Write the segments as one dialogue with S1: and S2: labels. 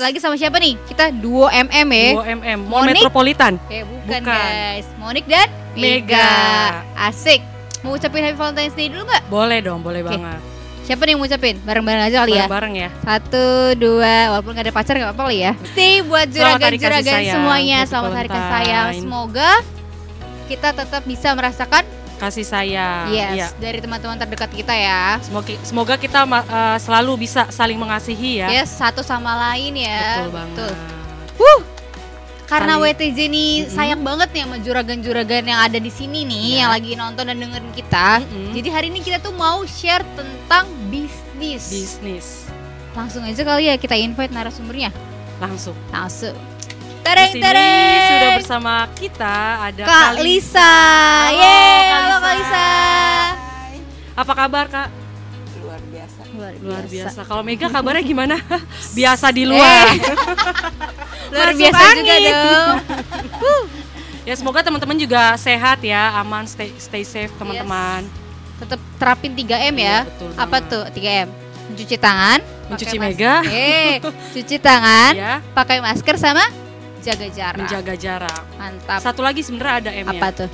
S1: lagi sama siapa nih? Kita duo MM ya.
S2: Duo MM, Mall
S1: Monik?
S2: Metropolitan.
S1: Eh bukan,
S2: Bukan.
S1: guys. Monik dan Mega.
S2: Mega.
S1: Asik. Mau ucapin Happy Valentine's Day dulu nggak?
S2: Boleh dong, boleh
S1: Oke,
S2: banget.
S1: Siapa nih yang mau ucapin? Bareng-bareng aja kali ya.
S2: Bareng-bareng ya.
S1: Satu, dua, walaupun gak ada pacar gak apa-apa kali ya Stay buat
S2: Selamat hari kasih
S1: juragan-juragan
S2: sayang.
S1: semuanya
S2: Happy
S1: Selamat hari kasih
S2: Valentine.
S1: sayang Semoga kita tetap bisa merasakan
S2: Kasih sayang.
S1: Yes,
S2: Iya.
S1: dari teman-teman terdekat kita ya
S2: Semoga, semoga kita ma- eh, selalu bisa saling mengasihi ya.
S1: Yes, satu sama lain ya
S2: Betul banget.
S1: Wuh, Karena
S2: Kali-
S1: WTJ ini
S2: Mm-mm.
S1: sayang banget nih sama juragan-juragan yang ada di sini nih
S2: Iya.
S1: Yang lagi nonton dan dengerin kita
S2: Mm-mm.
S1: Jadi hari ini kita tuh mau share tentang bisnis
S2: bisnis
S1: Langsung aja kali ya kita invite narasumbernya
S2: langsung.
S1: Langsung
S2: Di
S1: Tereng
S2: sini
S1: tereng
S2: sudah bersama kita ada
S1: Kak Lisa.
S2: Halo,
S1: Yeay,
S2: Kak
S1: halo Kak
S2: Lisa.
S1: Lisa.
S2: Apa kabar Kak?
S3: luar biasa
S2: Luar biasa. Kalau Mega kabarnya gimana? biasa di luar.
S1: Eh, Luar
S2: Masuk
S1: biasa juga
S2: angin.
S1: dong.
S2: Ya semoga teman-teman juga sehat ya, aman, stay, stay safe teman-teman.
S1: Tetap terapin 3M
S2: Iya,
S1: ya.
S2: betul
S1: Apa
S2: banget.
S1: tuh 3M? Mencuci tangan,
S2: Mencuci
S1: pakai mas-
S2: mega.
S1: Eh, cuci tangan,
S2: Ya,
S1: pakai masker sama jaga jarak.
S2: menjaga ya. jarak.
S1: Mantap.
S2: Satu lagi sebenarnya ada M-nya.
S1: Apa tuh?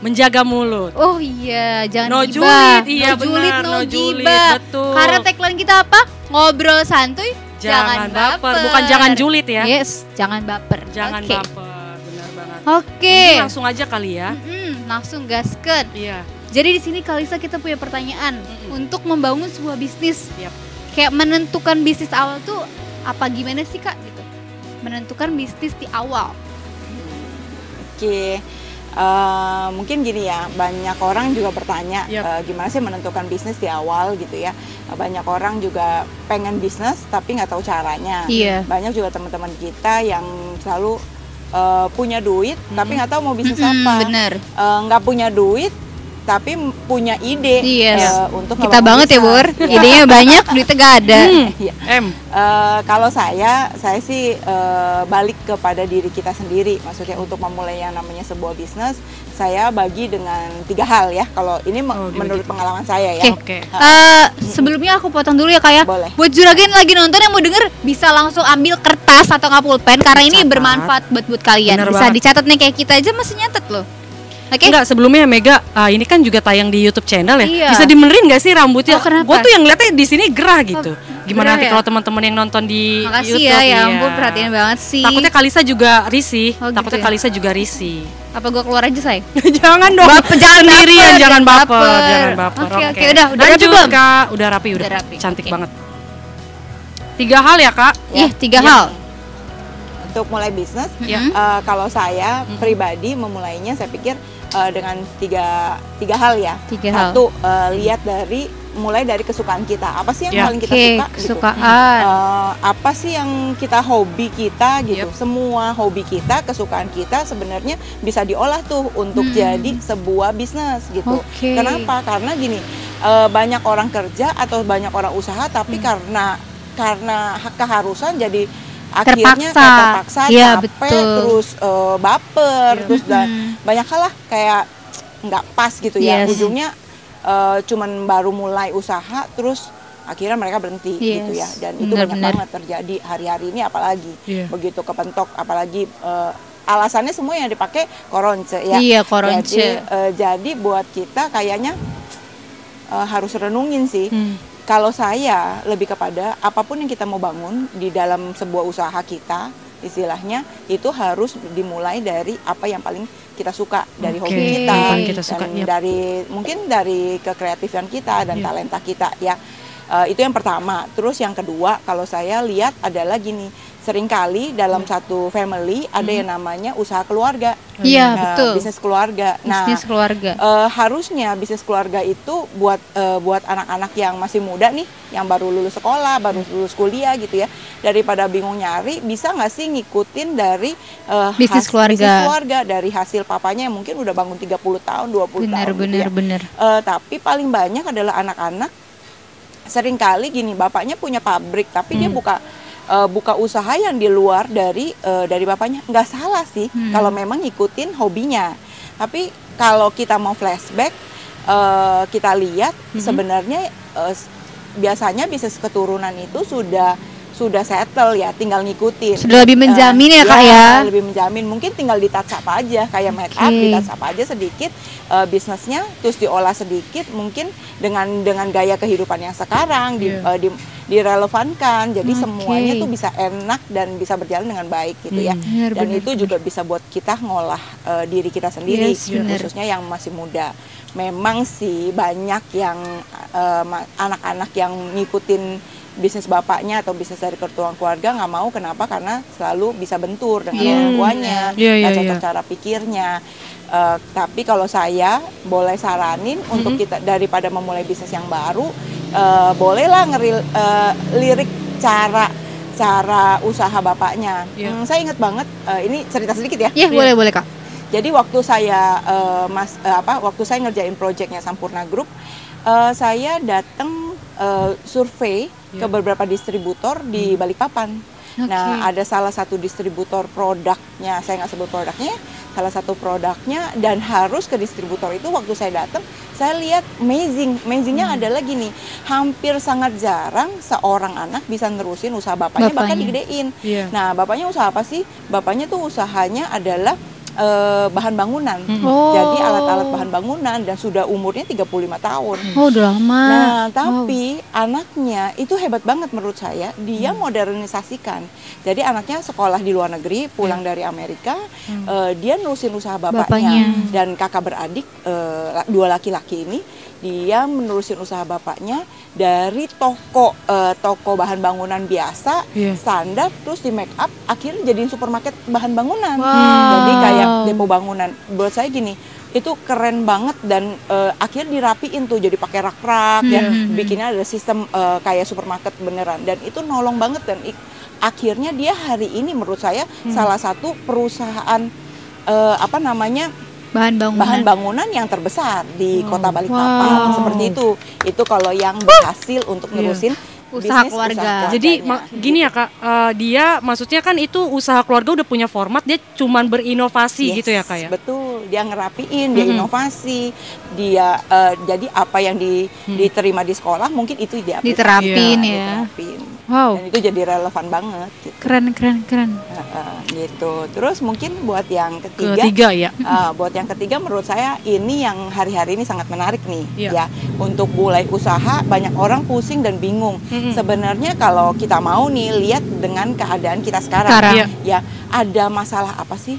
S2: Menjaga mulut.
S1: Oh iya, jangan
S2: No
S1: gibah.
S2: julid, iya
S1: no julid,
S2: benar,
S1: no,
S2: no julid,
S1: gibah.
S2: betul.
S1: Karena tagline kita apa? Ngobrol santuy, jangan,
S2: Bukan jangan julid ya.
S1: Yes, jangan baper.
S2: Jangan
S1: Oke.
S2: baper, benar banget.
S1: Oke.
S2: Mungkin langsung aja kali ya.
S1: Mm-mm, langsung gaskan.
S2: Iya,
S1: Jadi di sini Kalisa kita punya pertanyaan
S2: Mm-mm.
S1: untuk membangun sebuah bisnis.
S2: Yap.
S1: Kayak menentukan bisnis awal tuh apa gimana sih kak gitu? Menentukan bisnis di awal.
S3: Oke, eh, mungkin gini ya, banyak orang juga bertanya
S2: Yap.
S1: Iya.
S3: eh, gimana sih menentukan bisnis di awal gitu ya. Banyak orang juga pengen bisnis tapi nggak tahu caranya.
S1: Iya.
S3: Banyak juga teman-teman kita yang selalu eh, punya duit tapi nggak tahu mau bisnis apa.
S1: bener.
S3: Eh, Nggak punya duit tapi m- punya ide
S1: Yes.
S3: eh, untuk
S1: Iya. Kita banget
S3: ngebangun
S1: ya
S3: bisnis.
S1: Bur. Idenya banyak, duitnya gak ada.
S3: Iya.
S2: M.
S3: Eh, kalau saya, saya sih eh, balik kepada diri kita sendiri. Maksudnya untuk memulai yang namanya sebuah bisnis, saya bagi dengan tiga hal ya. Kalau ini me-
S2: Oh, dibagi
S3: menurut
S2: tiga.
S3: pengalaman saya ya.
S1: Oke.
S2: Oke.
S1: Eh, sebelumnya aku potong dulu ya kak ya.
S3: Boleh.
S1: Buat juragan yang lagi nonton yang mau denger bisa langsung ambil kertas atau nggak pulpen karena ini
S2: Dicatat.
S1: bermanfaat buat buat kalian.
S2: Bener
S1: bisa
S2: banget.
S1: dicatat nih kayak kita aja masih nyatet loh. Oke.
S2: Enggak, sebelumnya Mega, ah, ini kan juga tayang di YouTube channel ya.
S1: Iya.
S2: Bisa dimenerin nggak sih rambutnya?
S1: Oh, kenapa? Oh,
S2: Gue tuh yang ngeliatnya di sini gerah gitu.
S1: gerah
S2: Gimana nanti
S1: ya?
S2: kalau teman-teman yang nonton di
S1: Makasih
S2: YouTube?
S1: ya, ya
S2: iya.
S1: ampun perhatian banget sih.
S2: Takutnya Kalisa juga risih.
S1: Oh, gitu
S2: Takutnya
S1: ya?
S2: Kalisa juga risih.
S1: apa gua keluar aja
S3: Ya.
S1: say?
S2: jangan dong.
S1: Baper, jangan
S2: Sendirian,
S1: baper,
S2: jangan
S1: jangan
S2: baper,
S1: baper.
S2: jangan baper.
S1: Oke, oke, udah, udah rapi
S2: Lanjut,
S1: belum?
S2: Kak, udah rapi, udah,
S1: Udah rapi,
S2: Cantik
S1: oke.
S2: banget. Tiga hal ya, Kak?
S1: Iya tiga
S2: Ya.
S1: hal.
S3: Untuk mulai bisnis,
S2: Ya.
S1: Mm-mm.
S3: eh, kalau saya
S2: Mhm.
S3: pribadi memulainya, saya pikir eh, dengan tiga tiga hal ya.
S1: Tiga hal.
S3: Satu, eh, lihat dari mulai dari kesukaan kita. Apa sih yang
S2: Ya.
S3: paling kita
S1: Oke
S3: suka? gitu.
S1: kesukaan.
S3: Eh, apa sih yang kita hobi kita gitu semua hobi kita kesukaan kita sebenarnya bisa diolah tuh untuk
S1: Hmm.
S3: jadi sebuah bisnis gitu
S1: Oke.
S3: kenapa karena gini eh, banyak orang kerja atau banyak orang usaha tapi
S1: Hmm.
S3: karena karena keharusan jadi akhirnya
S1: Terpaksa.
S3: eh, terpaksa
S1: Iya,
S3: capek,
S1: betul.
S3: terus eh, baper
S2: Iya.
S3: terus dan
S1: Hmm.
S3: banyak hal lah kayak nggak pas gitu ya
S1: Yes.
S3: ujungnya eh, cuman baru mulai usaha terus akhirnya mereka berhenti gitu ya
S1: Yes,
S3: dan itu banyak
S1: benar-benar.
S3: banget terjadi hari-hari ini apalagi
S2: Iya.
S3: begitu kepentok apalagi eh, alasannya semua yang dipakai koronce ya
S1: Iya koronce.
S3: jadi eh, jadi buat kita kayaknya eh, harus renungin sih
S2: Hmm.
S3: kalau saya lebih kepada apapun yang kita mau bangun di dalam sebuah usaha kita istilahnya itu harus dimulai dari apa yang paling kita suka dari
S2: Oke,
S3: hobi kita,
S1: yang paling
S2: kita suka,
S3: dan
S2: yap.
S3: dari mungkin dari kekreatifan kita dan
S1: Iya.
S2: Yap.
S3: talenta kita ya Eh, itu yang pertama terus yang kedua kalau saya lihat adalah gini seringkali dalam satu family ada yang namanya usaha keluarga
S1: Hmm. Iya
S3: Nah,
S1: betul.
S3: bisnis keluarga nah
S1: Bisnis keluarga.
S3: Eh, harusnya bisnis keluarga itu buat eh, buat anak-anak yang masih muda nih, yang baru lulus sekolah, baru
S1: Hmm.
S3: lulus kuliah gitu ya, daripada bingung nyari, bisa nggak sih ngikutin dari eh,
S1: Bisnis keluarga.
S3: bisnis keluarga dari hasil papanya yang mungkin udah bangun 30 tahun, 20
S1: Bener
S3: tahun. gitu
S1: bener
S3: ya.
S1: bener.
S3: Eh, tapi paling banyak adalah anak-anak seringkali gini bapaknya punya pabrik tapi dia buka eh, buka usaha yang di luar dari eh, dari bapaknya nggak salah sih
S1: Hmm.
S3: kalau memang ngikutin hobinya tapi kalau kita mau flashback eh, kita lihat sebenarnya eh, s- biasanya bisnis keturunan itu sudah sudah settle ya tinggal ngikutin
S1: Sudah lebih menjamin ya, Kak, ya?
S3: Iya, lebih menjamin mungkin tinggal di touch up aja kayak make up
S1: Oke.
S3: di touch up aja sedikit eh, bisnisnya terus diolah sedikit mungkin dengan dengan gaya kehidupan yang sekarang di,
S2: Iya.
S3: eh, di- direlevankan jadi
S1: Oke.
S3: semuanya tuh bisa enak dan bisa berjalan dengan baik gitu ya
S2: Hmm.
S1: Benar,
S3: dan
S1: benar,
S3: itu
S1: benar.
S3: juga bisa buat kita ngolah eh, diri kita sendiri
S1: Yes, benar.
S3: khususnya yang masih muda memang sih banyak yang eh, ma- anak-anak yang ngikutin bisnis bapaknya atau bisnis dari ketua keluarga nggak mau kenapa karena selalu bisa bentur dengan
S1: Iya.
S3: orang tuanya
S2: Iya, iya,
S3: nggak cocok
S2: iya.
S3: cara pikirnya Eh, tapi kalau saya boleh saranin
S2: Mhm.
S3: untuk kita daripada memulai bisnis yang baru eh, bolehlah ngeril eh, lirik cara cara usaha bapaknya
S2: Iya.
S3: Hmm, saya ingat banget eh, ini cerita sedikit ya
S1: Iya, boleh boleh Kak.
S3: jadi waktu saya eh, mas eh, apa waktu saya ngerjain proyeknya Sampurna Group, eh, saya datang eh, survei ke
S2: Iya. Hmm.
S3: beberapa distributor di Balikpapan. Nah, ada salah satu distributor produknya, saya nggak sebut produknya, ya, salah satu produknya dan harus ke distributor itu waktu saya datang, saya lihat amazing, amazingnya adalah gini, hampir sangat jarang seorang anak bisa nerusin usaha bapaknya, bahkan
S1: Bapaknya.
S3: digedein.
S2: Iya.
S3: Nah, bapaknya usaha apa sih? Bapaknya tuh usahanya adalah eh, bahan bangunan.
S2: Hmm.
S1: Oh.
S3: Jadi alat-alat bahan bangunan dan sudah umurnya 35 tahun.
S1: Oh, udah lama. Wow.
S3: Nah,
S1: Hmm.
S3: tapi anaknya itu hebat banget menurut saya. Dia modernisasikan. Jadi anaknya sekolah di luar negeri, pulang dari Amerika, eh, dia nerusin
S1: Ya.
S3: usaha
S1: Hmm. Bapaknya.
S3: bapaknya. Dan kakak beradik eh, la- dua laki-laki ini, dia menerusin usaha bapaknya dari toko eh, toko bahan bangunan biasa
S2: Iya.
S3: standar terus di make up akhirnya jadiin supermarket bahan bangunan.
S1: Wow.
S3: Jadi kayak depo bangunan. Buat saya gini, itu keren banget dan eh, akhirnya dirapiin tuh jadi pakai rak-rak ya.
S1: Hmm.
S3: Bikinnya ada sistem eh, kayak supermarket beneran dan itu nolong banget dan ik- akhirnya dia hari ini menurut saya
S1: Hmm.
S3: salah satu perusahaan eh, apa namanya
S1: bahan bangunan.
S3: bahan bangunan yang terbesar di
S2: Wow.
S3: kota Balikpapan
S1: Wow.
S3: seperti itu itu kalau yang berhasil untuk
S2: Iya.
S3: nerusin
S1: Usaha
S3: bisnis
S1: keluarga.
S2: Jadi ma- gini ya kak, eh, dia maksudnya kan itu usaha keluarga udah punya format, dia cuman berinovasi
S3: Yes,
S2: gitu ya kak ya.
S3: Betul, dia ngerapiin, dia
S2: Mhm.
S3: inovasi, dia eh, jadi apa yang di-
S2: Hmm.
S3: diterima di sekolah mungkin itu dia Iya,
S1: Diterapin ya.
S3: diterapin.
S1: Wow,
S2: Oh.
S3: Dan itu jadi relevan banget gitu.
S1: keren keren keren.
S3: Heeh, gitu. Terus mungkin buat yang ketiga,
S2: Ketiga ya.
S3: eh, buat yang ketiga menurut saya ini yang hari-hari ini sangat menarik nih
S2: Iya.
S3: ya untuk mulai usaha banyak orang pusing dan bingung.
S2: Mm-mm.
S3: Sebenarnya kalau kita mau nih lihat dengan keadaan kita sekarang,
S1: Sekarang.
S2: Iya.
S3: ya ada masalah apa sih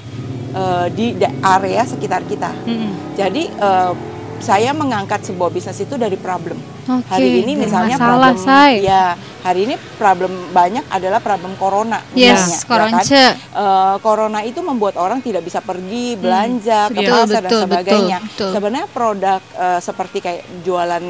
S3: eh, di da- area sekitar kita.
S2: Mm-mm.
S3: Jadi eh, saya mengangkat sebuah bisnis itu dari problem.
S1: Oke.
S3: Hari ini
S1: dari
S3: misalnya
S1: masalah,
S3: problem
S1: say.
S3: ya hari ini problem banyak adalah problem corona
S1: Yes,
S3: misalnya, ya kan?
S1: koronce.
S3: Eh, corona itu membuat orang tidak bisa pergi belanja ke
S2: Iya.
S1: Hmm,
S3: pasar
S1: Betul, betul,
S3: dan sebagainya.
S1: betul, betul.
S3: Sebenarnya produk eh, seperti kayak jualan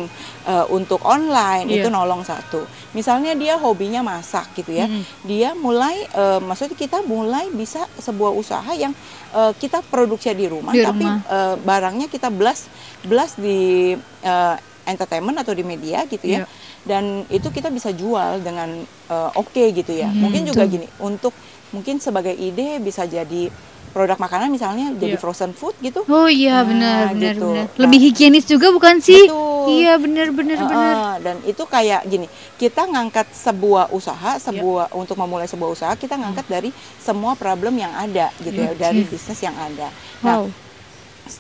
S3: eh, untuk online
S2: Iya.
S3: itu nolong satu. Misalnya dia hobinya masak gitu ya,
S1: Hmm.
S2: Mm-mm.
S3: dia mulai eh, maksudnya kita mulai bisa sebuah usaha yang eh, kita produksi di rumah,
S1: Di
S3: tapi
S1: rumah.
S3: eh, barangnya kita belas belas di eh, entertainment atau di media gitu ya.
S2: Iya.
S3: Dan itu kita bisa jual dengan eh, oke gitu ya.
S2: Hmm,
S3: mungkin juga
S1: betul.
S3: gini untuk mungkin sebagai ide bisa jadi produk makanan misalnya jadi
S2: Iya.
S3: frozen food gitu.
S1: Oh iya,
S3: Nah,
S1: benar benar
S3: gitu.
S1: benar.
S3: Nah.
S1: Lebih higienis juga bukan sih?
S3: Betul.
S1: Iya, benar benar
S3: Heeh,
S1: benar.
S3: dan itu kayak gini, kita ngangkat sebuah usaha, sebuah untuk memulai sebuah usaha, kita
S1: Hmm.
S3: ngangkat dari semua problem yang ada gitu ya,
S2: Iya.
S3: dari bisnis yang ada. Nah,
S1: Wow.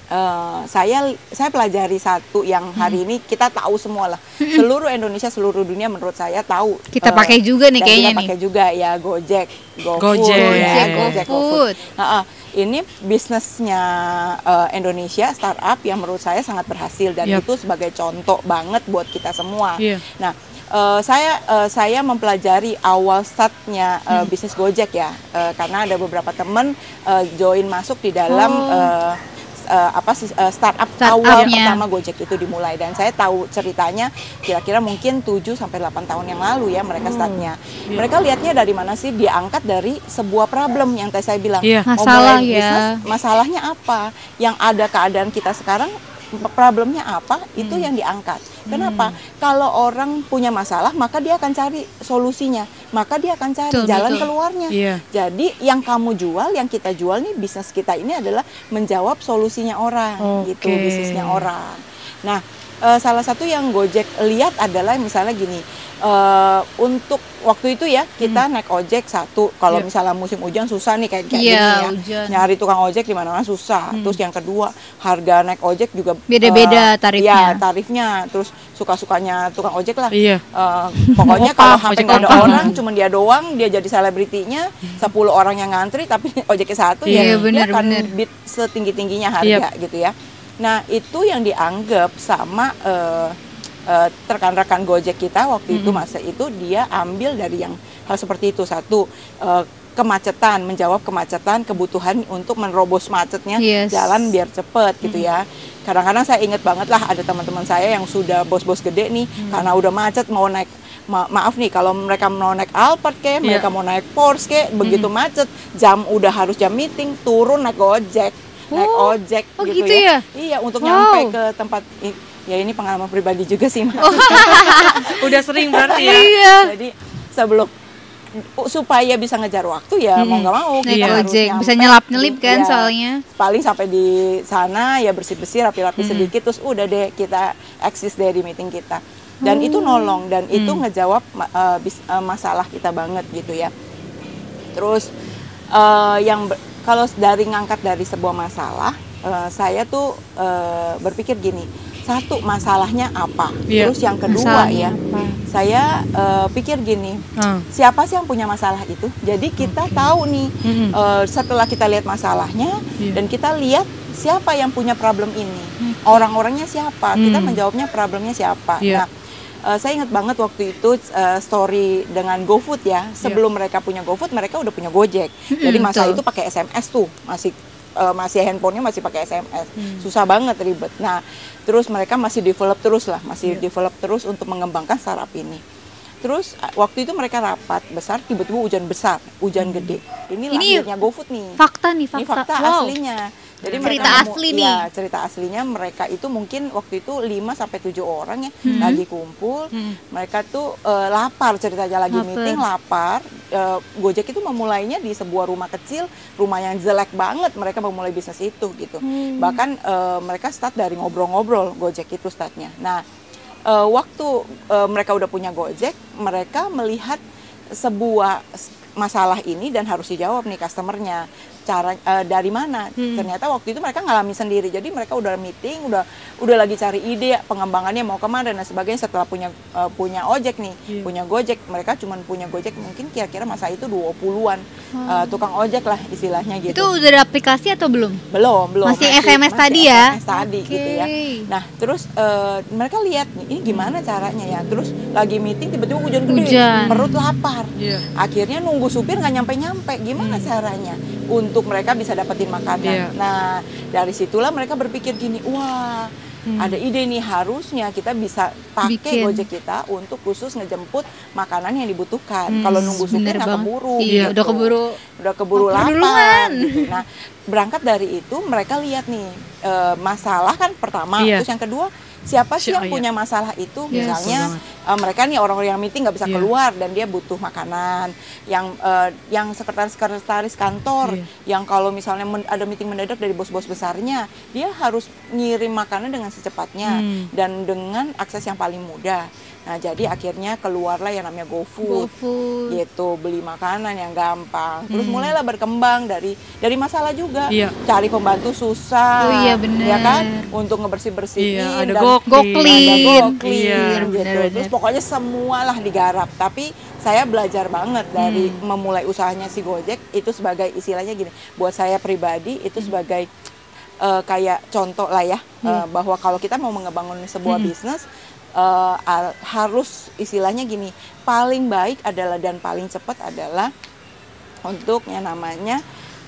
S3: eh, saya saya pelajari satu yang
S1: Hmm.
S3: hari ini kita tahu semua lah. Seluruh Indonesia, seluruh dunia menurut saya tahu.
S1: Kita
S3: eh,
S1: pakai juga nih
S3: dan
S1: kayaknya
S3: kita
S1: nih.
S3: pakai juga ya Gojek, GoFood,
S2: Gojek.
S3: ya,
S1: Gojek,
S3: Gojek,
S1: GoFood.
S3: Nah, ah, ini bisnisnya eh, Indonesia startup yang menurut saya sangat berhasil dan
S2: Yap.
S3: itu sebagai contoh banget buat kita semua.
S2: Iya.
S3: Nah, eh, saya eh, saya mempelajari awal startnya eh,
S1: Hmm.
S3: bisnis Gojek ya, Eh, karena ada beberapa teman eh, join masuk di dalam
S1: Oh.
S3: eh, s- eh, apa sih eh, startup awal
S1: Startupnya.
S3: pertama Gojek itu dimulai dan saya tahu ceritanya kira-kira mungkin 7 sampai 8 tahun yang lalu ya mereka
S1: Hmm.
S3: startnya.
S2: Iya.
S3: Mereka lihatnya dari mana sih? Diangkat dari sebuah problem yang tadi saya bilang
S2: Iya.
S3: mau
S1: Masalah
S3: mulai
S1: ya.
S3: masalahnya apa? Yang ada keadaan kita sekarang problemnya apa? Itu
S1: Hmm.
S3: yang diangkat. Kenapa? Kalau orang punya masalah, maka dia akan cari solusinya, maka dia akan cari
S1: Betul,
S3: jalan
S1: betul.
S3: keluarnya.
S2: Iya.
S3: Jadi yang kamu jual, yang kita jual nih bisnis kita ini adalah menjawab solusinya orang, gitu
S2: Oke.
S3: bisnisnya orang. Nah, eh, salah satu yang Gojek lihat adalah misalnya gini, eh, untuk waktu itu ya kita naik ojek satu. Kalau
S2: Iya.
S3: misalnya musim hujan susah nih kayak kayak
S1: Hmm. Iya,
S3: gini ya.
S1: hujan.
S3: Nyari tukang ojek di mana-mana susah.
S2: Hmm.
S3: Terus yang kedua, harga naik ojek juga
S1: Beda-beda
S3: eh,
S1: tarifnya.
S3: Iya, tarifnya. Terus suka-sukanya tukang ojek lah.
S2: Iya.
S3: Eh, pokoknya
S2: Ngokang,
S3: kalau hampir
S2: ojek
S3: nggak ada
S2: ngokang.
S3: orang, cuman dia doang, dia jadi selebritinya. 10 orang yang ngantri, tapi ojeknya satu
S1: Iya,
S3: ya.
S1: bener,
S3: dia akan
S1: bener.
S3: bid setinggi tingginya harga gitu ya. Nah itu yang dianggap sama eh, eh, rekan-rekan Gojek kita waktu itu masa itu dia ambil dari yang hal seperti itu satu eh, kemacetan menjawab kemacetan kebutuhan untuk menerobos macetnya
S1: Yes.
S3: jalan biar cepet gitu ya. Kadang-kadang saya inget banget lah ada teman-teman saya yang sudah bos-bos gede nih
S1: Hmm.
S3: karena udah macet mau naik ma- maaf nih kalau mereka mau naik Alphard kayak
S2: Iya.
S3: mereka mau naik Porsche kayak begitu
S1: Hmm.
S3: macet jam udah harus jam meeting turun naik Gojek naik
S1: Oh,
S3: ojek
S1: oh gitu ya?
S3: Iya, untuk
S1: Wow.
S3: nyampe ke tempat i- ya ini pengalaman pribadi juga sih, Mas.
S2: Udah sering berarti ya.
S1: Iya.
S3: Jadi sebelum supaya bisa ngejar waktu ya mau nggak mau
S1: Naik
S3: kita harus
S1: ojek Iya, bisa
S3: nyampe.
S1: nyelap-nyelip kan
S3: Iya.
S1: soalnya.
S3: Paling sampai di sana ya bersih-bersih, rapi-rapi sedikit terus udah deh kita eksis deh di meeting kita.
S1: Oh.
S3: Dan itu nolong dan itu
S1: Mm.
S3: ngejawab ma- eh, bis- eh, masalah kita banget gitu ya. Terus eh, yang ber- kalau dari ngangkat dari sebuah masalah, eh, saya tuh eh, berpikir gini, satu masalahnya apa?
S2: Iya.
S3: Terus yang kedua
S1: Masalahnya
S3: ya, saya eh, pikir gini,
S2: Ah.
S3: siapa sih yang punya masalah itu? Jadi kita tahu nih
S2: Mm-mm.
S3: eh, setelah kita lihat masalahnya
S2: Iya.
S3: dan kita lihat siapa yang punya problem ini, orang-orangnya siapa? Kita
S2: Hmm.
S3: menjawabnya problemnya siapa?
S2: Iya.
S3: Nah, eh, saya ingat banget waktu itu eh, story dengan GoFood
S2: Iya.
S3: ya. Sebelum mereka punya GoFood, mereka udah punya Gojek. Jadi masa
S1: betul.
S3: itu pakai SMS tuh, masih eh, masih handphonenya masih pakai SMS.
S2: Mm.
S3: Susah banget ribet. Nah, terus mereka masih develop terus lah, masih
S2: Iya.
S3: develop terus untuk mengembangkan startup ini. Terus eh, waktu itu mereka rapat besar, tiba-tiba hujan besar, hujan gede. Ini,
S1: Hmm. Ini
S3: lahirnya GoFood nih.
S1: Fakta nih fakta.
S3: Ini fakta
S1: wow.
S3: aslinya. Jadi
S1: Cerita
S3: mereka nemu-
S1: asli
S3: iya,
S1: nih.
S3: cerita aslinya mereka itu mungkin waktu itu 5 sampai 7 orang ya
S1: Hmm.
S3: lagi kumpul.
S1: Mm-hmm.
S3: Mereka tuh eh, lapar ceritanya lagi
S1: Lapar.
S3: meeting lapar. Eh, Gojek itu memulainya di sebuah rumah kecil, rumah yang jelek banget mereka memulai bisnis itu gitu. Bahkan eh, mereka start dari ngobrol-ngobrol Gojek itu startnya. Nah, eh, waktu eh, mereka udah punya Gojek, mereka melihat sebuah s- masalah ini dan harus dijawab nih customernya cara eh, dari mana
S1: Hmm.
S3: ternyata waktu itu mereka ngalami sendiri jadi mereka udah meeting udah udah lagi cari ide pengembangannya mau kemana dan sebagainya setelah punya eh, punya ojek nih
S2: Iya.
S3: punya gojek mereka cuman punya gojek mungkin kira-kira masa itu 20-an eh, tukang ojek lah istilahnya gitu
S1: Hmm. Itu udah ada aplikasi atau belum?
S3: belum belum
S1: Masih SMS tadi ya?
S3: SMS tadi gitu ya
S1: Oke.
S3: nah terus eh, mereka lihat nih ini gimana caranya ya terus lagi meeting tiba-tiba hujan gede
S1: Hujan.
S3: perut lapar
S2: Iya.
S3: akhirnya nunggu supir nggak nyampe nyampe
S1: Hmm.
S3: gimana caranya untuk mereka bisa dapetin makanan
S2: Iya.
S3: nah dari situlah mereka berpikir gini wah ada ide nih harusnya kita bisa pakai
S1: Hmm. Bikin.
S3: gojek kita untuk khusus ngejemput makanan yang dibutuhkan
S2: Hmm,
S3: Nah, kalau nunggu supir
S1: Bener
S3: nggak
S1: banget.
S3: keburu
S1: Iya,
S3: gitu
S1: udah keburu.
S3: udah keburu
S1: Lapar
S3: lapar.
S1: duluan.
S3: gitu. Nah, berangkat dari itu mereka lihat nih eh, masalah kan pertama,
S2: Iya.
S3: terus yang kedua siapa sih
S2: Si-
S3: yang
S2: iya.
S3: punya masalah itu
S1: Yes.
S3: misalnya
S2: Betul
S3: eh, mereka nih orang-orang yang meeting nggak bisa
S2: Iya.
S3: keluar dan dia butuh makanan, yang eh, yang sekretaris-sekretaris kantor,
S2: Iya.
S3: yang kalau misalnya men- ada meeting mendadak dari bos-bos besarnya, dia harus ngirim makanan dengan secepatnya
S2: Hmm.
S3: dan dengan akses yang paling mudah. Nah, jadi akhirnya keluarlah yang namanya GoFood
S1: GoFood.
S3: gitu beli makanan yang gampang terus mulailah berkembang dari dari masalah juga
S2: Iya.
S3: cari pembantu susah
S1: Oh iya, bener.
S3: ya kan untuk ngebersih bersihin
S2: Iya, ada gok.
S1: Goklin.
S3: ada
S2: Clean.
S3: go clean
S2: Iya,
S3: gitu.
S1: bener-bener.
S3: terus pokoknya semualah digarap tapi saya belajar banget dari
S1: Hmm.
S3: memulai usahanya si Gojek itu sebagai istilahnya gini buat saya pribadi itu
S1: Hmm.
S3: sebagai eh, kayak contoh lah ya eh, bahwa kalau kita mau mengebangun sebuah
S1: Hmm.
S3: bisnis eh, al- harus istilahnya gini paling baik adalah dan paling cepat adalah untuk yang namanya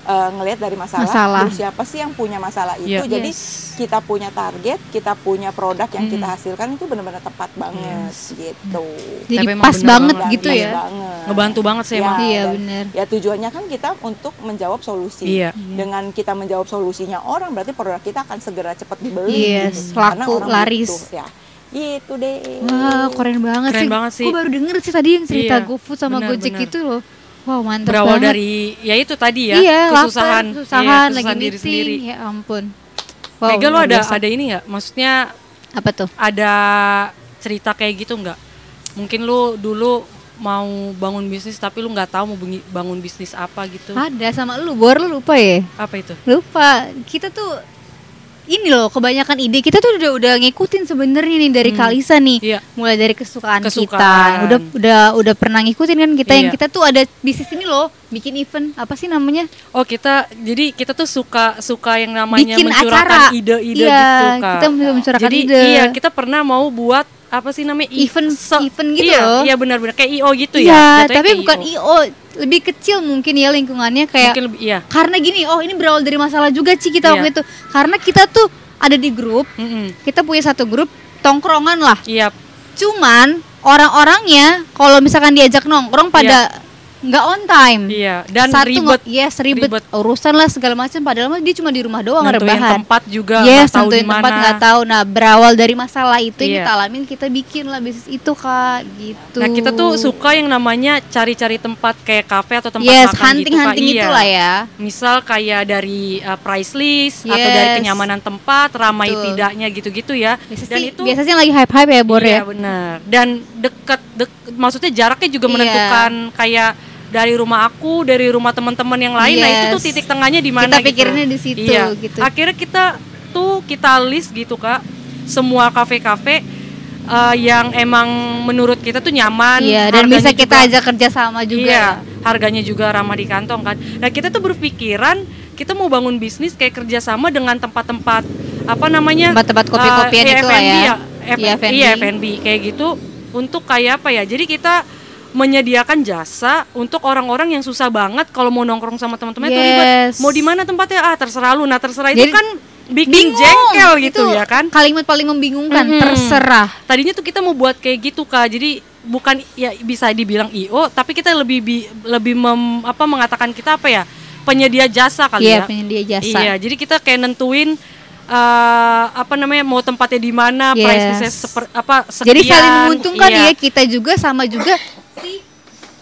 S3: eh, ngelihat dari masalah,
S1: Masalah.
S3: terus siapa sih yang punya masalah
S2: Iya.
S3: itu jadi
S1: Yes.
S3: kita punya target kita punya produk yang kita
S1: Hmm.
S3: hasilkan itu benar-benar tepat banget gitu
S1: Jadi
S2: Tapi emang
S1: pas
S2: bener
S1: banget
S3: Dan
S2: banget.
S1: gitu
S3: pas
S1: ya.
S3: banget.
S2: Ngebantu banget sih emang.
S1: Iya,
S3: dan-
S1: bener.
S3: ya tujuannya kan kita untuk menjawab solusi
S2: Iya.
S3: dengan kita menjawab solusinya orang berarti produk kita akan segera cepat dibeli
S1: Yes,
S3: gitu. Karena
S1: laku,
S3: orang
S1: laris.
S3: butuh, ya gitu deh
S1: Wah, keren banget
S2: Keren
S1: sih.
S2: banget sih.
S1: Gue baru denger sih tadi yang cerita
S2: Iya,
S1: GoFood sama
S2: benar,
S1: Gojek
S2: benar.
S1: itu loh. Wow, mantap
S2: Berawal
S1: banget.
S2: dari ya itu tadi ya,
S1: iya, lapar,
S2: kesusahan, iya,
S1: kesusahan, lagi
S2: kesusahan
S1: meeting.
S2: diri sendiri.
S1: Ya ampun.
S2: Mega lo
S1: luar
S2: ada
S1: biasa.
S2: ada ini nggak? Maksudnya
S1: apa tuh?
S2: ada cerita kayak gitu nggak? mungkin lu dulu mau bangun bisnis tapi lu nggak tahu mau bengi- bangun bisnis apa gitu
S1: Ada sama lu, Bor lu lupa ya?
S2: apa itu
S1: Lupa. Kita tuh ini loh kebanyakan ide kita tuh udah udah ngikutin sebenarnya nih dari
S2: Hmm.
S1: Kalisa nih.
S2: iya
S1: Mulai dari kesukaan, kita.
S2: Kesukaan.
S1: Udah udah udah pernah ngikutin kan kita yang
S2: Iya.
S1: kita tuh ada bisnis ini loh, bikin event apa sih namanya?
S2: oh kita jadi kita tuh suka suka yang namanya
S1: bikin acara.
S2: mencurahkan ide-ide
S1: iya,
S2: gitu kak
S1: Kita mencurahkan
S2: jadi
S1: ide.
S2: iya kita pernah mau buat apa sih namanya i-
S1: Event-
S2: se-
S1: event gitu
S2: iya,
S1: loh.
S2: iya benar-benar kayak io gitu
S1: Iya,
S2: ya jatuhnya
S1: tapi
S2: kayak
S1: bukan IO, lebih kecil mungkin ya lingkungannya kayak
S2: mungkin lebih iya
S1: karena gini, oh ini berawal dari masalah juga Ci kita waktu
S2: Iya.
S1: itu. Karena kita tuh ada di grup,
S2: Mm-mm.
S1: kita punya satu grup tongkrongan lah.
S2: iya
S1: Cuman orang-orangnya kalau misalkan diajak nongkrong pada nggak on time.
S2: iya dan
S1: Satu
S2: ribet
S1: nge- yes, ribet,
S2: Ribet.
S1: urusan lah segala macam padahal mah dia cuma di rumah doang
S2: nentuin
S1: rebahan.
S2: tempat juga
S1: Yes,
S2: nggak tahu
S1: tentuin
S2: di mana
S1: tempat nggak tahu. Nah, berawal dari masalah itu yang
S2: Iya.
S1: kita alamin, kita bikin lah bisnis itu kak, gitu.
S2: Nah kita tuh suka yang namanya cari-cari tempat kayak kafe atau tempat
S1: yes,
S2: makan gitu Kak.
S1: hunting-hunting
S2: Iya.
S1: itulah ya.
S2: Misal kayak dari uh, price list atau
S1: Yes.
S2: dari kenyamanan tempat, ramai
S1: Betul.
S2: tidaknya gitu-gitu ya.
S1: Biasa
S2: Dan
S1: sih,
S2: itu
S1: biasa sih yang lagi hype-hype ya, Bor ya.
S2: Iya benar. Dan dekat, dek- maksudnya jaraknya juga
S1: Iya.
S2: menentukan kayak dari rumah aku, dari rumah teman-teman yang lain. Nah itu tuh
S1: Yes.
S2: titik tengahnya di
S1: Kita
S2: mana? gitu.
S1: pikirinnya di situ,
S2: Iya.
S1: gitu.
S2: Akhirnya kita tuh kita list gitu kak, semua kafe-kafe eh, yang emang menurut kita tuh nyaman.
S1: Iya, dan
S2: harganya
S1: bisa kita
S2: juga-
S1: ajak kerja sama juga.
S2: Iya, harganya juga ramah di kantong kan. Nah kita tuh berpikiran kita mau bangun bisnis kayak kerjasama dengan tempat-tempat apa namanya
S1: Tempat-tempat kopi-kopian
S2: eh,
S1: itu lah
S2: F&B
S1: ya.
S2: F-
S1: Iya, F&B.
S2: Iya F&B kayak gitu untuk kayak apa ya? Jadi kita menyediakan jasa untuk orang-orang yang susah banget kalau mau nongkrong sama teman-temannya tuh ribet.
S1: Yes.
S2: Mau di mana tempatnya? Ah terserah lu. Nah terserah
S1: Jadi,
S2: itu kan bikin
S1: Bingung,
S2: jengkel gitu
S1: itu
S2: ya kan.
S1: Kalimat paling membingungkan,
S2: Mm-mm.
S1: terserah.
S2: Tadinya tuh kita mau buat kayak gitu kak, jadi bukan ya bisa dibilang IO, tapi kita lebih bi- lebih mem- apa mengatakan kita apa ya penyedia jasa kali
S1: Iya,
S2: ya.
S1: penyedia jasa.
S2: Iya, jadi kita kayak nentuin eh, apa namanya mau tempatnya di mana,
S1: Yes.
S2: price listnya seper- apa sekian.
S1: Jadi saling menguntungkan
S2: iya.
S1: ya kita juga sama juga si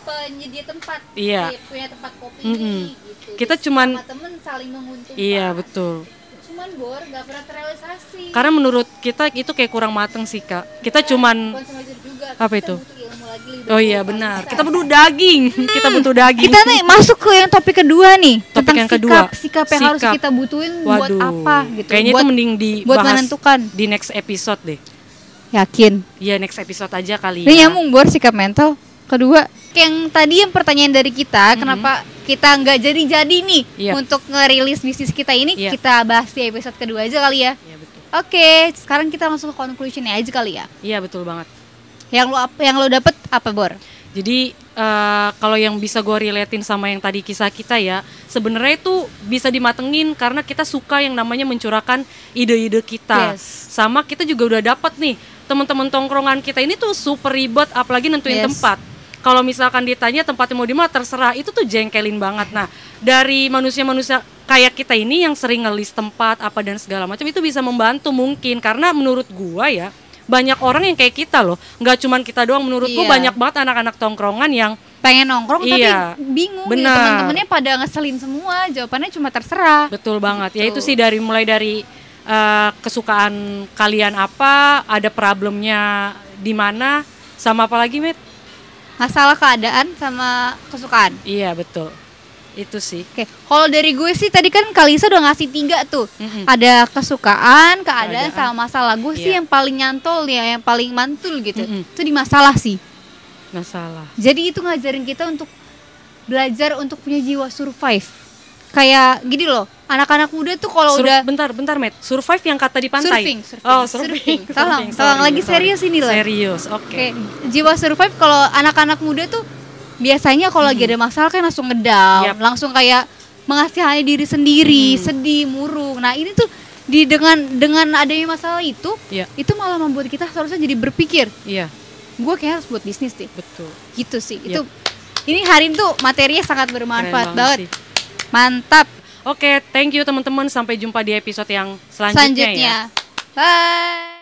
S1: penyedia tempat.
S2: Iya.
S1: Si punya tempat kopi
S2: Mm-mm.
S1: ini, gitu.
S2: Kita
S1: Jadi
S2: cuman-
S1: sama temen saling menguntungkan.
S2: Iya betul.
S1: Cuman bor gak pernah terrealisasi.
S2: Karena menurut kita itu kayak kurang mateng sih kak. Kita cuman
S1: Bukan sengaja juga. Kita
S2: Apa itu?
S1: butuh ilmu lagi, lebih
S2: oh
S1: dari
S2: iya
S1: apa
S2: benar.
S1: kita.
S2: Kita butuh daging. kita butuh
S1: Hmm.
S2: daging.
S1: Kita nih masuk ke yang topik kedua nih
S2: Topik
S1: tentang
S2: yang
S1: sikap,
S2: kedua.
S1: sikap yang harus
S2: Sikap.
S1: kita butuhin buat
S2: Waduh.
S1: apa gitu.
S2: Kayaknya
S1: buat,
S2: itu mending dibahas
S1: buat menentukan.
S2: di next episode deh.
S1: Yakin.
S2: Iya next episode aja kali
S1: Ini
S2: ya.
S1: nyambung bor sikap mental. Kedua, kayak yang tadi yang pertanyaan dari kita, kenapa kita nggak jadi-jadi nih
S2: Mhm. Iya.
S1: untuk ngerilis bisnis kita ini,
S2: Iya.
S1: kita bahas di episode kedua aja kali ya.
S2: Iya betul.
S1: Oke, sekarang kita langsung ke conclusionnya aja kali ya.
S2: Iya betul banget.
S1: Yang lo ap- yang lo dapet apa bor?
S2: Jadi eh, kalau yang bisa gue relatein sama yang tadi kisah kita ya, sebenarnya itu bisa dimatengin karena kita suka yang namanya mencurahkan ide-ide kita.
S1: Yes.
S2: Sama kita juga udah dapat nih teman-teman tongkrongan kita ini tuh super ribet, apalagi nentuin
S1: Yes.
S2: tempat. Kalau misalkan ditanya tempatnya mau di mana terserah, itu tuh jengkelin banget. Nah dari manusia-manusia kayak kita ini yang sering ngelis tempat apa dan segala macam itu bisa membantu mungkin karena menurut gua ya banyak orang yang kayak kita loh nggak cuman kita doang menurut gua
S1: Iya.
S2: banyak banget anak-anak tongkrongan yang
S1: Pengen nongkrong
S2: Iya.
S1: tapi bingung gitu.
S2: Benar.
S1: teman-temannya pada ngeselin semua, jawabannya cuma terserah.
S2: betul banget ya itu
S1: Betul.
S2: sih dari mulai dari eh, kesukaan kalian apa ada problemnya di mana sama apa lagi met
S1: Masalah keadaan sama kesukaan.
S2: iya betul itu sih
S1: Oke, kalau dari gue sih tadi kan Kalisa udah ngasih tiga tuh.
S2: Mm-mm.
S1: Ada kesukaan, keadaan,
S2: Keadaan.
S1: sama masalah. Gue sih
S2: Iya.
S1: yang paling nyantol ya, yang paling mantul gitu.
S2: Mm-mm.
S1: Itu di masalah sih.
S2: masalah
S1: Jadi itu ngajarin kita untuk belajar untuk punya jiwa survive. Kayak gini loh, anak-anak muda tuh kalau
S2: Sur-
S1: udah
S2: bentar bentar met survive yang kata di pantai
S1: surfing, surfing,
S2: oh surfing,
S1: surfing. Tolong,
S2: Surfing,
S1: tolong
S2: sorry,
S1: lagi
S2: sorry.
S1: serius ini loh.
S2: serius oke
S1: Oke, jiwa survive kalau anak-anak muda tuh biasanya kalau lagi ada masalah kan langsung ngedown,
S2: Yap. Hmm.
S1: langsung kayak mengasihani diri sendiri, sedih, murung. Nah, ini tuh di dengan dengan adanya masalah itu,
S2: Iya.
S1: itu malah membuat kita seharusnya jadi berpikir,
S2: iya
S1: gue kayak harus buat bisnis deh.
S2: betul
S1: Gitu sih. Itu
S2: Iya.
S1: ini hari ini tuh materinya sangat
S2: Keren
S1: bermanfaat
S2: banget
S1: banget.
S2: sih.
S1: Mantap.
S2: Oke, thank you teman-teman. Sampai jumpa di episode yang selanjutnya, ya.
S1: Selanjutnya. Bye.